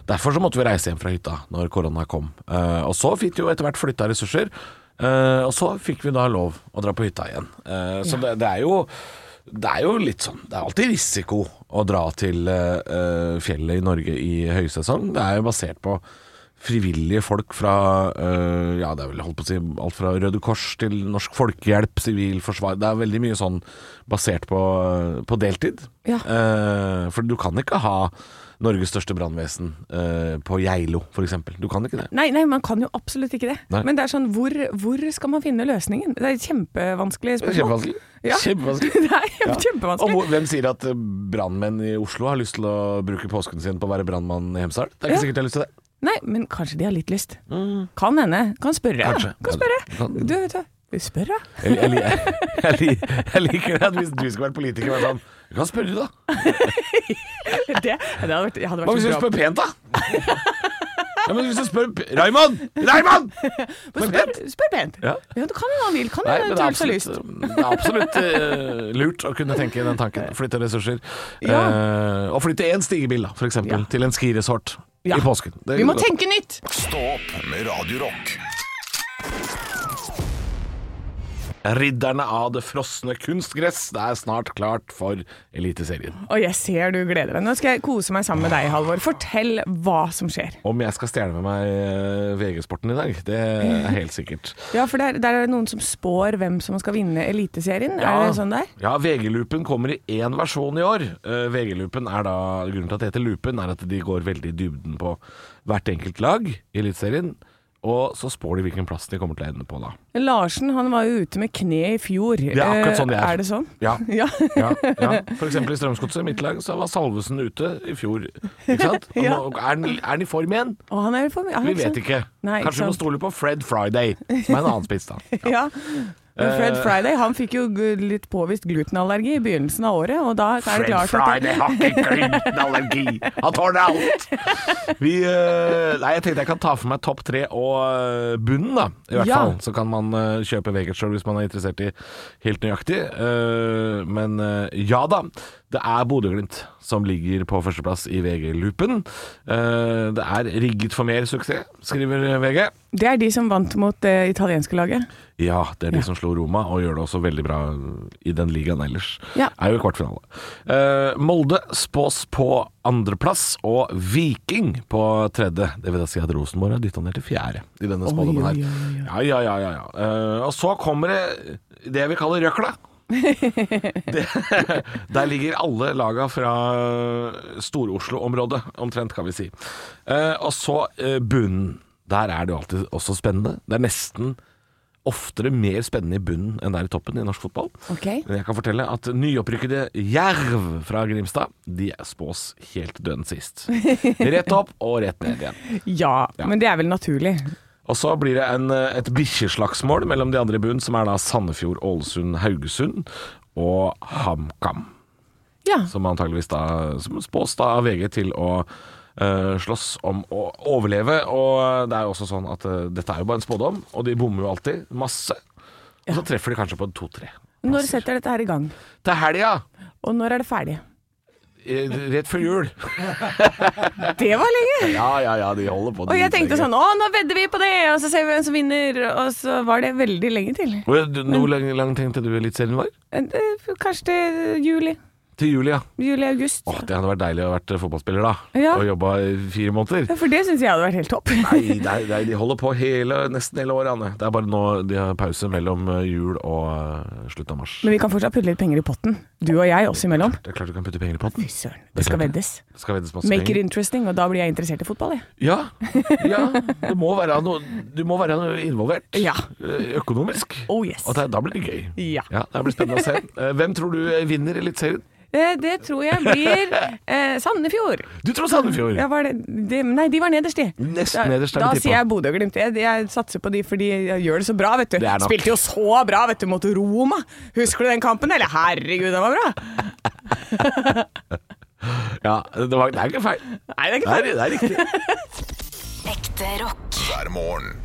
S3: Derfor så måtte vi reise hjem fra hytta når korona kom. Eh, og så fikk vi jo etter hvert flytta ressurser. eh, og så fikk vi da lov å dra på hytta igjen. Eh, så det, det er jo det er jo litt sånn Det er alltid risiko å dra til eh, eh, fjellet i Norge i høysesong. Det er jo basert på frivillige folk fra eh, Ja, det er vel holdt på å si alt fra Røde Kors til Norsk Folkehjelp, Sivilforsvar Det er veldig mye sånn basert på, på deltid.
S4: Ja.
S3: Eh, for du kan ikke ha Norges største brannvesen eh, på Geilo, f.eks. Du kan ikke det.
S4: Nei, nei, man kan jo absolutt ikke det.
S3: Nei.
S4: Men det er sånn, hvor, hvor skal man finne løsningen? Det er et kjempevanskelig
S3: Det er
S4: spørsmål.
S3: Kjempevanskelig.
S4: Ja.
S3: Kjempevanskelig.
S4: [LAUGHS] Det er kjempe-
S3: Og
S4: kjempevanskelig.
S3: hvor, hvem sier at eh, brannmenn i Oslo har lyst til å bruke påsken sin på å være brannmann i Hemsedal? Det er ikke
S4: Ja.
S3: sikkert de har lyst til det.
S4: Nei, men kanskje de har litt lyst. Kan hende. Kan spørre. ja.
S3: Mm. Kanskje.
S4: Kan spørre.
S3: Kan-
S4: Du, vet du. Vi spør, ja.
S3: Jeg, jeg, li- [LAUGHS] jeg, li- jeg liker det at hvis du skal være politiker, være sånn Du kan spørre, du, da.
S4: Det, [LAUGHS] det hadde vært, jeg hadde
S3: Hva
S4: vært
S3: hvis du
S4: så bra.
S3: spør pent, da? Ja, men hvis du spør p- Raymond! Raymond! Spør pent!
S4: Spør pent.
S3: Ja.
S4: Ja, du kan hende han vil. Kan
S3: Nei,
S4: hende
S3: men det er
S4: Truls har lyst.
S3: absolutt, det er absolutt eh, lurt å kunne tenke den tanken. Flytte ressurser.
S4: Ja.
S3: Eh, og flytte én stigebil, da, for eksempel,
S4: Ja.
S3: til en skiresort. i påsken. Det
S4: Vi må
S3: går-
S4: tenke nytt!
S2: Stå opp med Radio Rock.
S3: Ridderne av det frosne kunstgress. Det er snart klart for Eliteserien.
S4: Og jeg ser du gleder deg. Nå skal jeg kose meg sammen med deg, Halvor. Fortell hva som skjer.
S3: Om jeg skal stjele med meg eh, VG-sporten i dag, det er helt sikkert.
S4: Ja, for der, der er det noen som spår hvem som skal vinne Eliteserien. Er det sånn der?
S3: Ja, VG-loopen kommer i én versjon i år. Eh, VG-loopen er da, Grunnen til at det heter loopen, er at de går veldig i dybden på hvert enkelt lag i Eliteserien. Og så spår de hvilken plass de kommer til å ende på da.
S4: Larsen han var jo ute med kne i fjor.
S3: Det er akkurat sånn det er.
S4: Er det sånn? [LAUGHS]
S3: Ja.
S4: Ja.
S3: Ja, ja. For eksempel i Strømsgodset, mitt lag, så var Salvesen ute i fjor. Ikke
S4: [LAUGHS]
S3: sant? Og
S4: Ja.
S3: nå, er, han, er han i form igjen?
S4: Og han er for, ja,
S3: Vi vet ikke.
S4: Nei, ikke sånn-
S3: Kanskje vi må
S4: sant.
S3: stole på Fred Friday, som er en annen spiss, da.
S4: [LAUGHS] Ja. Men Fred
S3: Eh.
S4: Friday han fikk jo gu- litt påvist glutenallergi i begynnelsen av året, og da er det
S3: Fred
S4: klart at
S3: Friday har ikke glutenallergi. Han tåler alt. Vi, eh, nei, jeg tenkte jeg kan ta for meg topp tre og eh, bunnen, da. I hvert
S4: Ja.
S3: fall. Så kan man eh, kjøpe Vegetshore hvis man er interessert i helt nøyaktig. Eh, men eh, ja da. Det er Bodø-Glimt som ligger på førsteplass i VG-loopen. Eh, det er rigget for mer suksess, skriver VG.
S4: Det er de som vant mot det italienske laget.
S3: Ja, det er de som slo Roma, og gjør det også veldig bra i den ligaen ellers.
S4: Ja.
S3: Er jo i kvartfinale. Eh, Molde spås på andreplass, og Viking på tredje. Det vil da si at Rosenborg har dytta ned til fjerde i denne spådommen her. Ja, ja, ja. ja, ja. Eh, og så kommer det det vi kaller røkla. det, der ligger alle laga fra Stor-Oslo-området, omtrent, kan vi si. Eh, og så eh, bunnen. Der er det jo alltid også spennende. Det er nesten oftere mer spennende i bunnen enn det er i toppen i norsk fotball.
S4: Ok.
S3: Men jeg kan fortelle at nyopprykkede Jerv fra Grimstad, de spås helt dønn sist. Rett opp og rett ned igjen.
S4: Ja, men det er vel naturlig.
S3: Og så blir det en, eh, et bikkjeslagsmål mellom de andre i bunnen, som er da Sandefjord, Ålesund, Haugesund og HamKam.
S4: Ja.
S3: Som antageligvis da som spås da av VG til å eh, slåss om å overleve. Og det er jo også sånn at eh, dette er jo bare en spådom, og de bommer jo alltid. Masse. Og så treffer de kanskje på en to-tre.
S4: Når setter dette her i gang?
S3: Til helga!
S4: Og når er det ferdig?
S3: eh, Rett før jul.
S4: Det var lenge!
S3: Ja, ja, ja, de holder på.
S4: Og jeg
S3: dritlenge.
S4: tenkte sånn å, nå vedder vi på det, og så ser vi hvem som vinner, og så var det veldig lenge til.
S3: Hvor du- hvor lang, lang tenkte du Eliteserien var?
S4: Eh, Kanskje til juli.
S3: Til juli, ja.
S4: Juli-august.
S3: Åh, det hadde vært deilig å ha vært eh, fotballspiller da.
S4: Ja.
S3: Og jobba i fire måneder.
S4: Ja, For det syns jeg hadde vært helt topp.
S3: Nei, nei, nei, de holder på hele, nesten hele året, Anne. Det er bare nå de har pause mellom eh, jul og eh, slutten av mars.
S4: [LAUGHS] Men vi kan fortsatt putte litt penger i potten, du og jeg også imellom.
S3: Det er klart du kan putte penger i potten.
S4: Fy søren, det
S3: klart
S4: skal
S3: det.
S4: veddes.
S3: Det skal veddes masse
S4: Make it
S3: penger.
S4: interesting, og da blir jeg interessert i fotball, jeg.
S3: Ja, ja. Det må være noe, du må være noe involvert.
S4: Ja.
S3: Eh, Økonomisk.
S4: Oh, yes.
S3: Og det, da blir det gøy.
S4: Ja.
S3: Det blir spennende å
S4: [LAUGHS]
S3: se. Eh, Hvem tror du eh, vinner Eliteserien?
S4: Eh, Det tror jeg blir eh, Sandefjord.
S3: Du tror Sandefjord?
S4: Ja, var det, de, nei, de var nederst, de.
S3: Nest
S4: Da,
S3: nederst er
S4: da
S3: det tippa.
S4: sier jeg Bodø og Glimt. Jeg, jeg satser på de, for de gjør det så bra, vet du.
S3: Det er nok.
S4: Spilte jo så bra, vet du, mot Roma. Husker du den kampen? Eller herregud, den var bra!
S3: Ja, det, var, det er ikke feil.
S4: Nei, det er ikke
S3: Det
S4: feil.
S3: er, det er riktig.
S1: Ekte rock.
S2: hver morgen.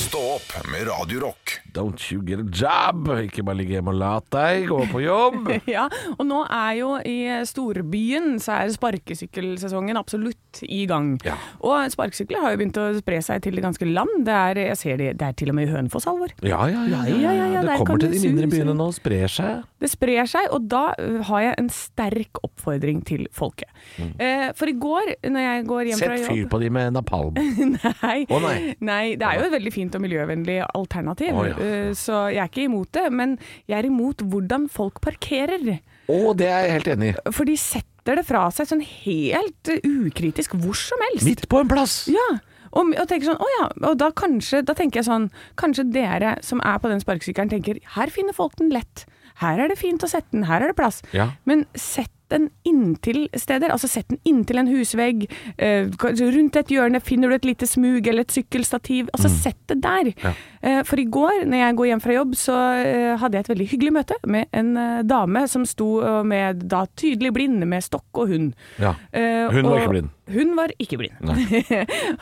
S2: Stå opp med Radio Rock.
S3: Don't you get a job? Ikke bare ligge hjemme og lat deg, gå på
S4: [LAUGHS]
S3: jobb.
S4: [LAUGHS] Ja, og nå er jo i storbyen så er sparkesykkelsesongen absolutt i gang.
S3: Ja.
S4: Og sparkesykler har jo begynt å spre seg til det ganske land. Det er, jeg ser det, det er til og med i Hønefoss, Halvor.
S3: Ja, ja, ja. ja,
S4: Ja,
S3: ja,
S4: ja, ja,
S3: Det
S4: der kan
S3: kommer til
S4: du
S3: de
S4: suse.
S3: mindre byene nå, sprer seg.
S4: Det sprer seg, og da ø, har jeg en sterk oppfordring til folket. Eh, for i går, når jeg går hjem fra
S3: Mm. Sett
S4: jobb
S3: fyr på de med napalm.
S4: [LAUGHS] Nei.
S3: Å, nei.
S4: det er jo et veldig fint og miljøvennlig alternativ,
S3: Å, ja.
S4: eh, så jeg er ikke imot det. Men jeg er imot hvordan folk parkerer.
S3: Å, det er jeg helt enig i.
S4: For de setter det fra seg sånn helt eh, ukritisk hvor som helst.
S3: Midt på en plass.
S4: Ja, og, og tenker sånn, å ja, og da kanskje, da tenker jeg sånn, kanskje dere som er på den sparkesykkelen tenker, her finner folk den lett, her er det fint å sette den, her er det plass.
S3: Ja.
S4: Men sett den inntil steder, altså sett den inntil en husvegg, eh, kanskje rundt et hjørne finner du et lite smug eller et sykkelstativ,
S3: Mm.
S4: altså sett det der. Eh, for i går, når jeg går hjem fra jobb, så eh, hadde jeg et veldig hyggelig møte med en eh, dame som sto eh, med, da tydelig blind med stokk og hund.
S3: Ja.
S4: Eh,
S3: Hun var
S4: og-
S3: ikke blind.
S4: Hun var ikke blind. [LAUGHS]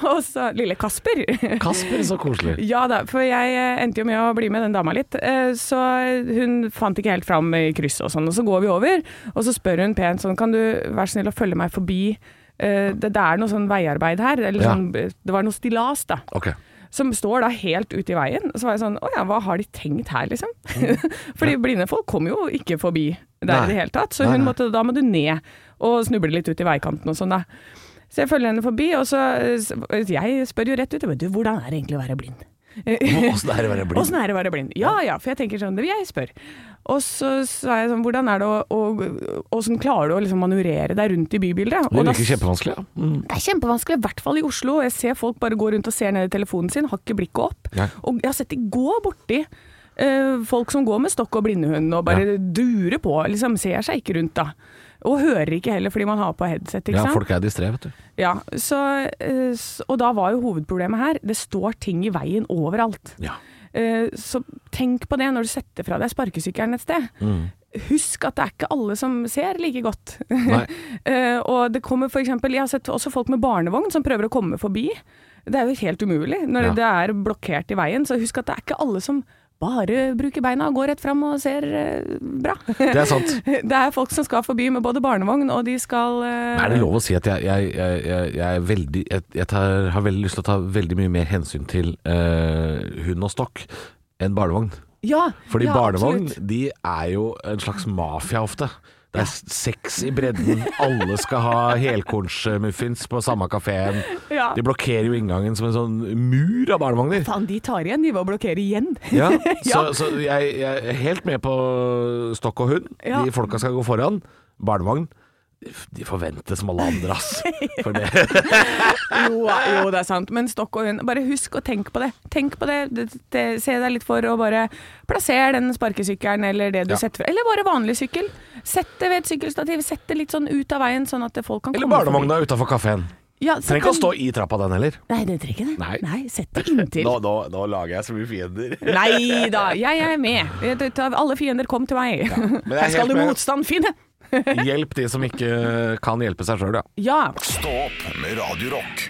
S4: og så lille Kasper. [LAUGHS]
S3: Kasper, så koselig.
S4: ja da, for jeg eh, endte jo med å bli med den dama litt. eh, Så hun fant ikke helt fram i krysset og sånn. Og så går vi over, og så spør hun pent sånn Kan du være snill å følge meg forbi
S2: eh, det, det er noe sånn veiarbeid her, eller
S3: Ja.
S2: sånn, det var noe stillas da,
S3: Ok.
S2: som står da helt ute i veien. Så var jeg sånn, åja, hva har de tenkt her liksom? [LAUGHS] Fordi blinde folk kommer jo ikke forbi der
S3: Nei.
S2: i det hele tatt, så
S3: Nei,
S2: hun
S3: nei.
S2: måtte, da må du ned og snuble litt ut i veikanten og sånn da. Så jeg følger henne forbi, og så, jeg spør jo rett ut, du, hvordan er det egentlig å være blind?
S3: Åssen er det å
S2: [LAUGHS]
S3: være blind?
S2: Åssen er det å være blind? Ja ja, for jeg tenker sånn, det vil jeg spørre. Og så sa jeg sånn, hvordan er det å, å Åssen klarer du å liksom manøvrere deg rundt i bybildet?
S3: Det
S2: Og da
S3: virker kjempevanskelig. ja. Mm.
S2: det er kjempevanskelig, i hvert fall i Oslo. Jeg ser folk bare gå rundt og ser ned i telefonen sin, har ikke blikket opp.
S3: Nei.
S2: Og jeg har sett de gå borti eh, folk som går med stokk og blindehund og bare durer på, liksom ser seg ikke rundt da. Og hører ikke heller fordi man har på headset, ikke
S3: Ja,
S2: sant.
S3: folk er distré, vet du.
S2: Ja, så, eh, s- og da var jo hovedproblemet her, det står ting i veien overalt.
S3: Ja.
S2: Eh, Så tenk på det når du setter fra deg sparkesykkelen et sted.
S3: Mm.
S2: Husk at det er ikke alle som ser like godt.
S3: Nei.
S2: [LAUGHS] Eh, og det kommer for eksempel, Jeg har sett også folk med barnevogn som prøver å komme forbi. Det er jo helt umulig
S3: Ja.
S2: når det er blokkert i veien. Så husk at det er ikke alle som bare bruker beina og går rett fram og ser eh, bra. [LAUGHS]
S3: Det er sant.
S2: Det er folk som skal forbi med både barnevogn og de skal eh,
S3: Er det lov å si at jeg, jeg, jeg, jeg, jeg, er veldig, jeg, jeg tar, har veldig lyst til å ta veldig mye mer hensyn til eh, hund og stokk enn barnevogn?
S2: Ja,
S3: Fordi
S2: ja,
S3: barnevogn
S2: absolutt.
S3: de er jo en slags mafia ofte. Det er sex i bredden, alle skal ha helkornsmuffins på samme kafeen.
S2: Ja.
S3: De blokkerer jo inngangen som en sånn mur av barnevogner.
S2: Faen, de tar igjen. De var å blokkere igjen. [LAUGHS]
S3: Ja, så,
S2: Ja.
S3: så jeg, jeg er helt med på stokk og hund.
S2: Ja.
S3: De folka skal gå foran. Barnevogn. De forventes som alle andre,
S2: [LAUGHS]
S3: ass. For det,
S2: Jo, jo, det er sant. Men stokk og hund, bare husk å tenke på det. Tenk på det, det, det se deg litt for, og bare plasser den sparkesykkelen eller det du
S3: Ja.
S2: setter fra. Eller bare vanlig sykkel. Sett det ved et sykkelstativ. Sett det litt sånn ut av veien, sånn at folk kan
S3: eller
S2: komme forbi.
S3: barnevogna utafor kafeen.
S2: Ja,
S3: Trenger ikke å stå i trappa, den heller.
S2: Nei, det trenger ikke det.
S3: Nei.
S2: sett det inntil.
S3: nå, nå lager jeg så mye fiender.
S2: Nei da, jeg er med. Jeg tar- Alle fiender, kom til meg.
S3: men jeg er
S2: Her skal
S3: helt
S2: du
S3: med.
S2: motstand finne.
S3: [LAUGHS] Hjelp de som ikke kan hjelpe seg sjøl, ja.
S2: Ja.
S8: Stå opp med Radio Rock.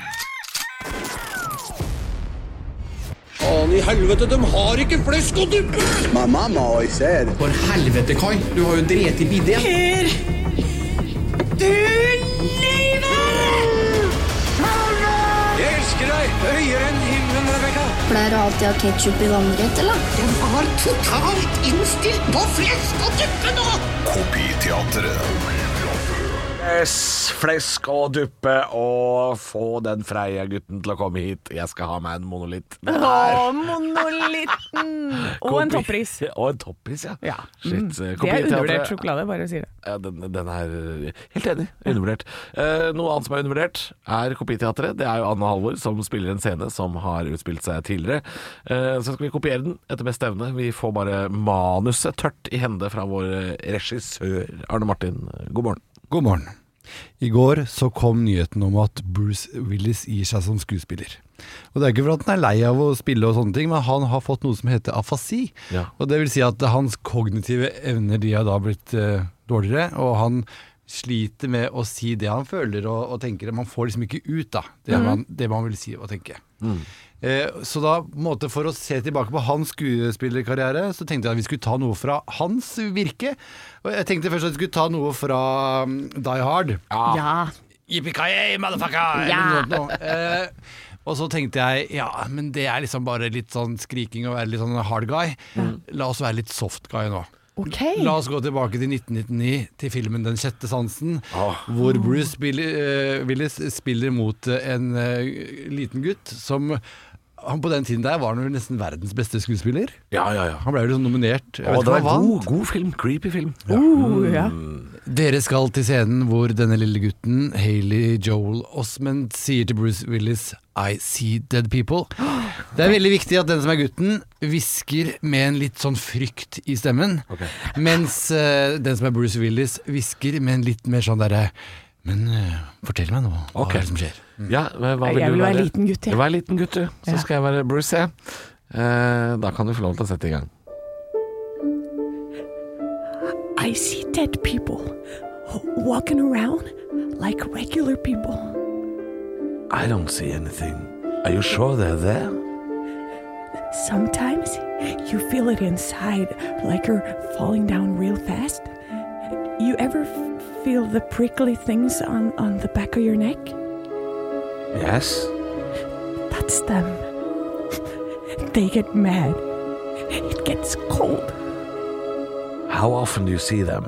S9: Pleier du alltid å ha ketsjup i vannrett, eller?
S10: Jeg var totalt innstilt på flesk og duppe nå!
S8: Kopiteatret.
S3: Yes, flesk og duppe og få den freie gutten til å komme hit. Jeg skal ha meg en monolitt. Det
S2: Å,
S3: er
S4: [LAUGHS]
S2: monolitten! Og en
S3: kopi-
S2: toppris.
S3: [LAUGHS] og en toppris, ja.
S2: Ja. Mm.
S3: Shit. eh,
S2: Det er
S3: kopiteatret-
S2: undervurdert sjokolade, bare sier det.
S3: Ja, den, den er eh, helt enig. Undervurdert. Eh, noe annet som er undervurdert, er Kopiteatret. Det er jo Anne Halvor som spiller en scene som har utspilt seg tidligere. Eh, så skal vi kopiere den etter beste evne. Vi får bare manuset tørt i hende fra vår eh, regissør Arne Martin. God morgen.
S11: God morgen. I går så kom nyheten om at Bruce Willis gir seg som skuespiller. Og Det er ikke for at han er lei av å spille, og sånne ting, men han har fått noe som heter afasi.
S3: Ja.
S11: Og det vil si at hans kognitive evner de har da blitt eh, dårligere, og han sliter med å si det han føler og, og tenker. Man får liksom ikke ut da, det, man, det man vil si og tenke. Eh, så da, på en måte for å se tilbake på hans skuespillerkarriere, så tenkte jeg at vi skulle ta noe fra hans virke. Og jeg tenkte først at vi skulle ta noe fra mm, Die Hard.
S2: Ja.
S11: Yippee-ki-yay, motherfucker! Eller
S2: Ja.
S11: noe sånt noe. Eh, og så tenkte jeg ja, men det er liksom bare litt sånn skriking og være litt sånn hard guy.
S3: Mm.
S11: La oss være litt soft guy nå.
S2: Ok.
S11: La oss gå tilbake til 1999, til filmen 'Den sjette sansen',
S3: Ah.
S11: hvor Bruce Billi, eh, Willis spiller mot eh, en eh, liten gutt som han På den tiden der var han jo nesten verdens beste skuespiller.
S3: Ja, ja, ja.
S11: Han ble jo liksom nominert. Jeg vet
S3: Og
S11: ikke
S3: det
S11: om
S3: er
S11: han vant.
S3: god, god film. Creepy film.
S2: Uh, ja.
S11: Dere skal til scenen hvor denne lille gutten, Hayley Joel Osmond, sier til Bruce Willis I see dead people. Det er veldig viktig at den som er gutten, hvisker med en litt sånn frykt i stemmen. Mens eh, den som er Bruce Willis, hvisker med en litt mer sånn derre Men eh, fortell meg nå, hva
S3: Ok.
S11: er det som skjer?
S3: Ja, hva hva vil
S2: Jeg
S3: du
S2: vil
S3: være?
S2: være liten gutt, jeg.
S3: Vær liten gutt, du. Så
S2: Ja.
S3: skal jeg være Bruce, jeg. Eh, da kan du få lov til å sette i gang.
S2: I see dead people walking around like regular people.
S3: I don't see anything. Are you sure they're there?
S2: Sometimes you feel it inside, like you're falling down real fast. You ever f- feel the prickly things on, on the back of your neck?
S3: Yes.
S2: That's them. [LAUGHS] They get mad. It gets cold
S3: How often do you see them?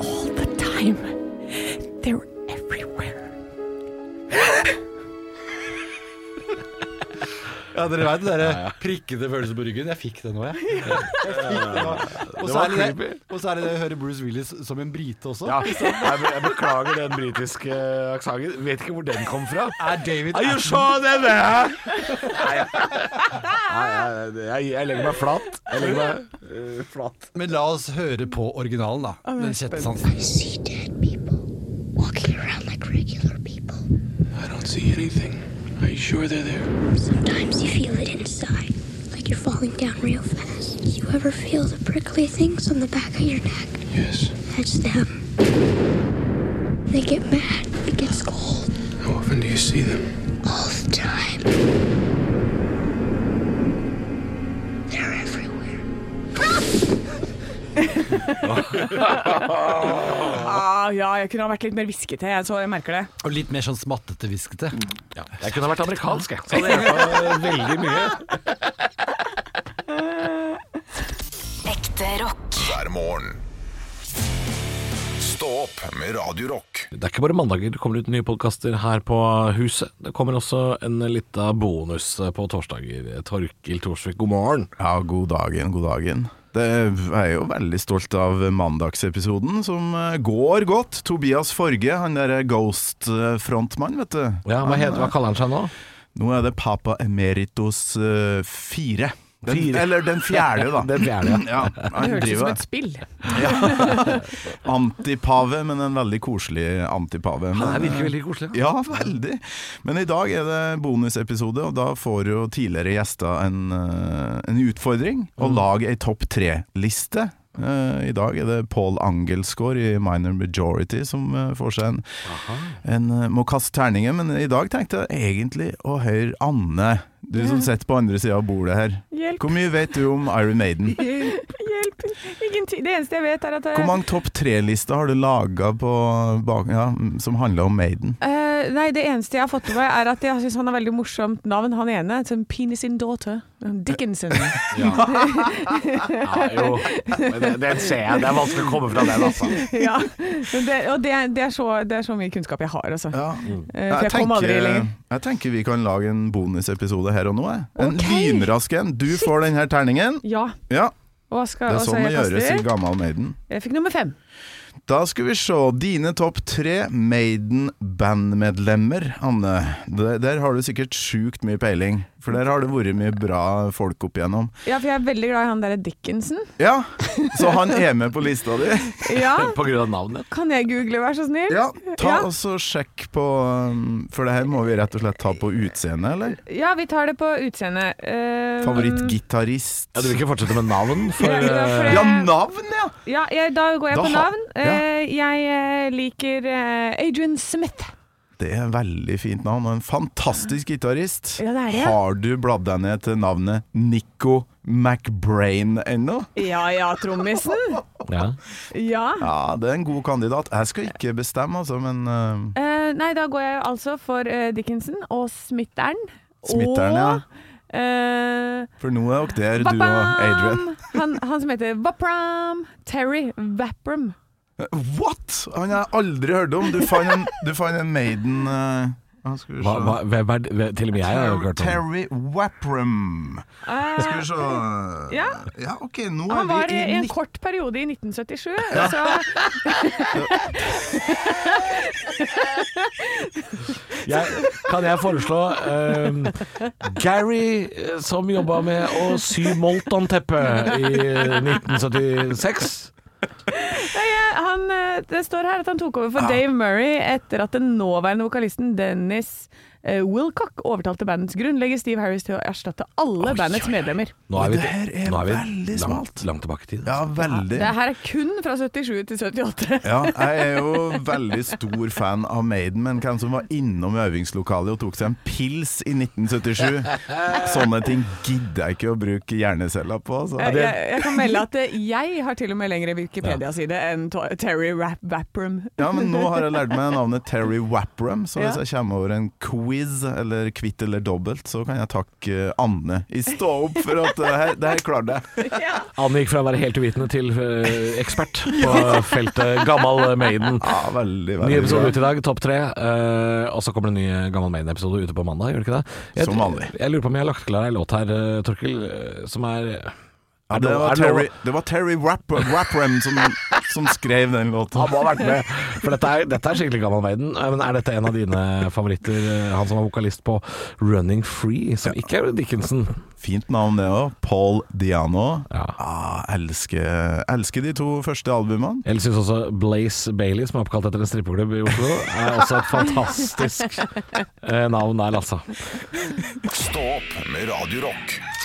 S2: all the time. They're everywhere.
S11: Ja, dere vet den der prikkete følelsen på ryggen. Jeg fikk det nå, jeg. jeg fikk det nå. Og så
S3: var
S11: er det det,
S3: creepy.
S11: og så er det det å høre Bruce Willis som en brite også.
S3: Ja, jeg, be- jeg beklager den britiske aksenten. Vet ikke hvor den kom fra.
S11: Er David
S3: Are you sure that there? Nei, jeg, jeg, jeg legger meg flat. Jeg legger meg eh, flat.
S11: Men la oss høre på originalen, da. Den sjette sansen.
S9: See dead people walking around like regular people.
S12: I don't see anything. Are you sure they're there?
S9: Sometimes you feel it inside, like you're falling down real fast. You ever feel the prickly things on the back of your neck?
S12: Yes.
S9: That's them. They get mad. It gets cold
S12: How often do you see them?
S9: all the time. They're everywhere.
S2: Ah, ja, jeg kunne ha vært litt mer hviskete, jeg, så jeg merker det.
S11: Og litt mer sånn smattete, hviskete.
S3: Jeg kunne ha vært amerikansk, jeg. Så Sånn det hjelper veldig mye.
S1: Ekte rock.
S13: hver morgen. Stå opp med Radio Rock.
S3: Det er ikke bare mandager det kommer ut nye podkaster her på huset. Det kommer også en lita bonus eh, på torsdager. Torkil Thorsvik, god morgen.
S8: Ja, god dagen, god dagen. Det er jo veldig stolt av mandagsepisoden, som eh, går godt. Tobias Forge, han derre Ghost-frontmann, vet du.
S3: Ja, hva, heter, hva kaller han seg nå?
S8: Nå er det Papa Emeritus eh, fire. Den,
S3: Fire.
S8: Eller den fjerde,
S11: [LAUGHS]
S8: da.
S3: Den fjerde,
S8: ja.
S2: Det
S8: han
S2: høres ut som
S8: driver
S2: et spill.
S8: antipave, men en veldig koselig antipave.
S3: Han
S8: Men,
S3: er
S8: eh,
S3: virkelig veldig koselig.
S8: Ja, veldig. Men i dag er det bonusepisode, og da får jo tidligere gjester en, eh, en utfordring. Å lage ei topp tre-liste. Eh, I dag er det Paul Angelsgaard i Minor Majority som eh, får seg en, en eh, Må kaste terninger, men i dag tenkte jeg egentlig å høre Anne. Du som sitter på andre sida av bordet her.
S2: Hjelp.
S8: Hvor mye vet du om Iron Maiden?
S2: [LAUGHS] Hjelp! Ingenting. Det eneste jeg vet, er at eh, jeg-
S8: Hvor mange topp tre-lister har du laga ja, som handler om Maiden?
S2: Eh, nei, det eneste jeg har fått med meg, er at jeg syns han har veldig morsomt navn, han ene. Som Penis in Daughter. Mm,
S3: [LAUGHS]
S2: Dickinson.
S3: Ja, jo. Men det- Den ser jeg. Det er vanskelig å komme fra den, altså.
S2: [LAUGHS] ja. Men det, og det, er- det, er så, det er så mye kunnskap jeg har, altså.
S8: Ja.
S2: Eh, for jeg kom aldri lenger.
S8: jeg tenker vi kan lage en bonusepisode her og nå. jeg. En
S2: Ok.
S8: lynrask en. Du får den her terningen.
S2: Ja.
S8: Ja,
S2: Og hva skal,
S8: det
S2: hva
S8: er
S2: skal
S8: sånn det
S2: jeg kaste
S8: gjøres i
S2: i?
S8: gammel Maiden.
S2: Jeg fikk nummer fem.
S8: Da skal vi se. Dine topp tre Maiden-bandmedlemmer, Anne. Der, der har du sikkert sjukt mye peiling, for der har det vært mye bra folk opp igjennom.
S2: Ja, for jeg er veldig glad i han derre Dickinson.
S8: Ja, så han er med på lista di. [LAUGHS]
S2: Ja.
S3: På grunn av navnet.
S2: Kan jeg google, vær så snill?
S8: Ja, ta
S2: Ja.
S8: og så sjekk på um, For det her må vi rett og slett ta på utseende, eller?
S2: Ja, vi tar det på utseendet. Eh,
S8: Favorittgitarist.
S3: Ja, du vil ikke fortsette med navn? For,
S2: Ja, ja, for-
S3: eh,
S8: Ja, navn, ja!
S2: Ja, jeg, da går jeg
S8: Da
S2: på
S8: har-
S2: navn. Eh, jeg eh, liker eh, Adrian Smith.
S8: Det er veldig fint navn, og en fantastisk gitarist.
S2: Ja, det er det, ja.
S8: Har du bladd deg ned til navnet Nico McBrain ennå?
S2: Ja ja, trommisen.
S3: ja.
S2: Ja.
S8: Ja, det er en god kandidat. Jeg skal ikke bestemme, altså, men uh,
S2: Eh, nei, da går jeg altså for eh, Dickinson og Smitteren.
S8: Smitteren, ja.
S2: Og eh,
S8: For nå er dere der, du og Adrian.
S2: Vapram! [LAUGHS] Han, han som heter Vapram. Terry Vapram.
S8: What?! Han har jeg aldri hørt om. Du fant en, du fant en Maiden uh, han skulle
S3: Hva, hva, hvem er det? Hvem- Til og med jeg har jo ikke hørt om det.
S8: Terry Wapram.
S2: Eh,
S8: Skal vi se
S2: ja.
S8: ja, OK, nå
S2: Eh, Han
S8: er
S2: var
S8: vi
S2: i
S8: i
S2: en
S8: 19...
S2: kort periode i 1977, så
S3: Jeg, kan jeg foreslå eh, Gary eh, som jobba med å sy Molton-teppe i 1976?
S2: Eh, han, eh, det står her at han tok over for Dave Murray etter at den nåværende vokalisten Dennis
S4: eh, Wilcock overtalte bandets grunnlegger Steve Harris til å erstatte alle bandets medlemmer.
S3: Nå er vi,
S11: Det her er
S3: nå er vi
S11: veldig
S3: langt, langt tilbake i tid.
S11: Ja, veldig.
S4: Det her er kun fra 77 til 78.
S11: Ja, jeg er jo veldig stor fan av Maiden, men hvem som var innom øvingslokalet og tok seg en pils i 1977? Sånne ting gidder jeg ikke å bruke hjerneceller på. Altså.
S4: Jeg, jeg, jeg kan melde at eh, jeg har til og med lengre Wikipedia-side enn To- Terry Rap Vaprum.
S11: Ja, men nå har jeg lært meg navnet Terry Wappram, så hvis
S4: Ja.
S11: jeg kommer over en quiz, eller kvitt eller dobbelt, så kan jeg takke eh, Anne i stå opp for at det her, det her klarte jeg.
S3: Anne gikk fra å være helt uvitende til eh, ekspert på feltet Gammal Maiden.
S11: Ja, veldig,
S3: Ny
S11: veldig
S3: episode ute
S11: bra.
S3: i dag, topp tre. eh, og så kommer det en ny Gammal Maiden-episode ute på mandag, gjør det ikke det? Jeg,
S11: Som vanlig.
S3: Jeg lurer på om jeg har lagt klar ei låt her, eh, Torkil, eh, som er
S11: Ja,
S3: er
S11: det,
S3: lov-
S11: var
S3: er lov-
S11: Terry, det var Terry Wapp- Wappram som, som skrev den låten.
S3: Han må ha vært med. For dette er, dette er skikkelig gammel verden. Eh, Men er dette en av dine favoritter? eh, Han som var vokalist på Running Free, som ikke er Dickinson.
S11: Fint navn det òg. Paul Diano.
S3: Ja.
S11: Ah, elsker, elsker de to første albumene.
S3: Jeg syns også Blaze Bailey, som er oppkalt etter en strippeklubb i Oslo, er også et fantastisk eh, navn der, altså.
S8: Stå opp med Radio Rock.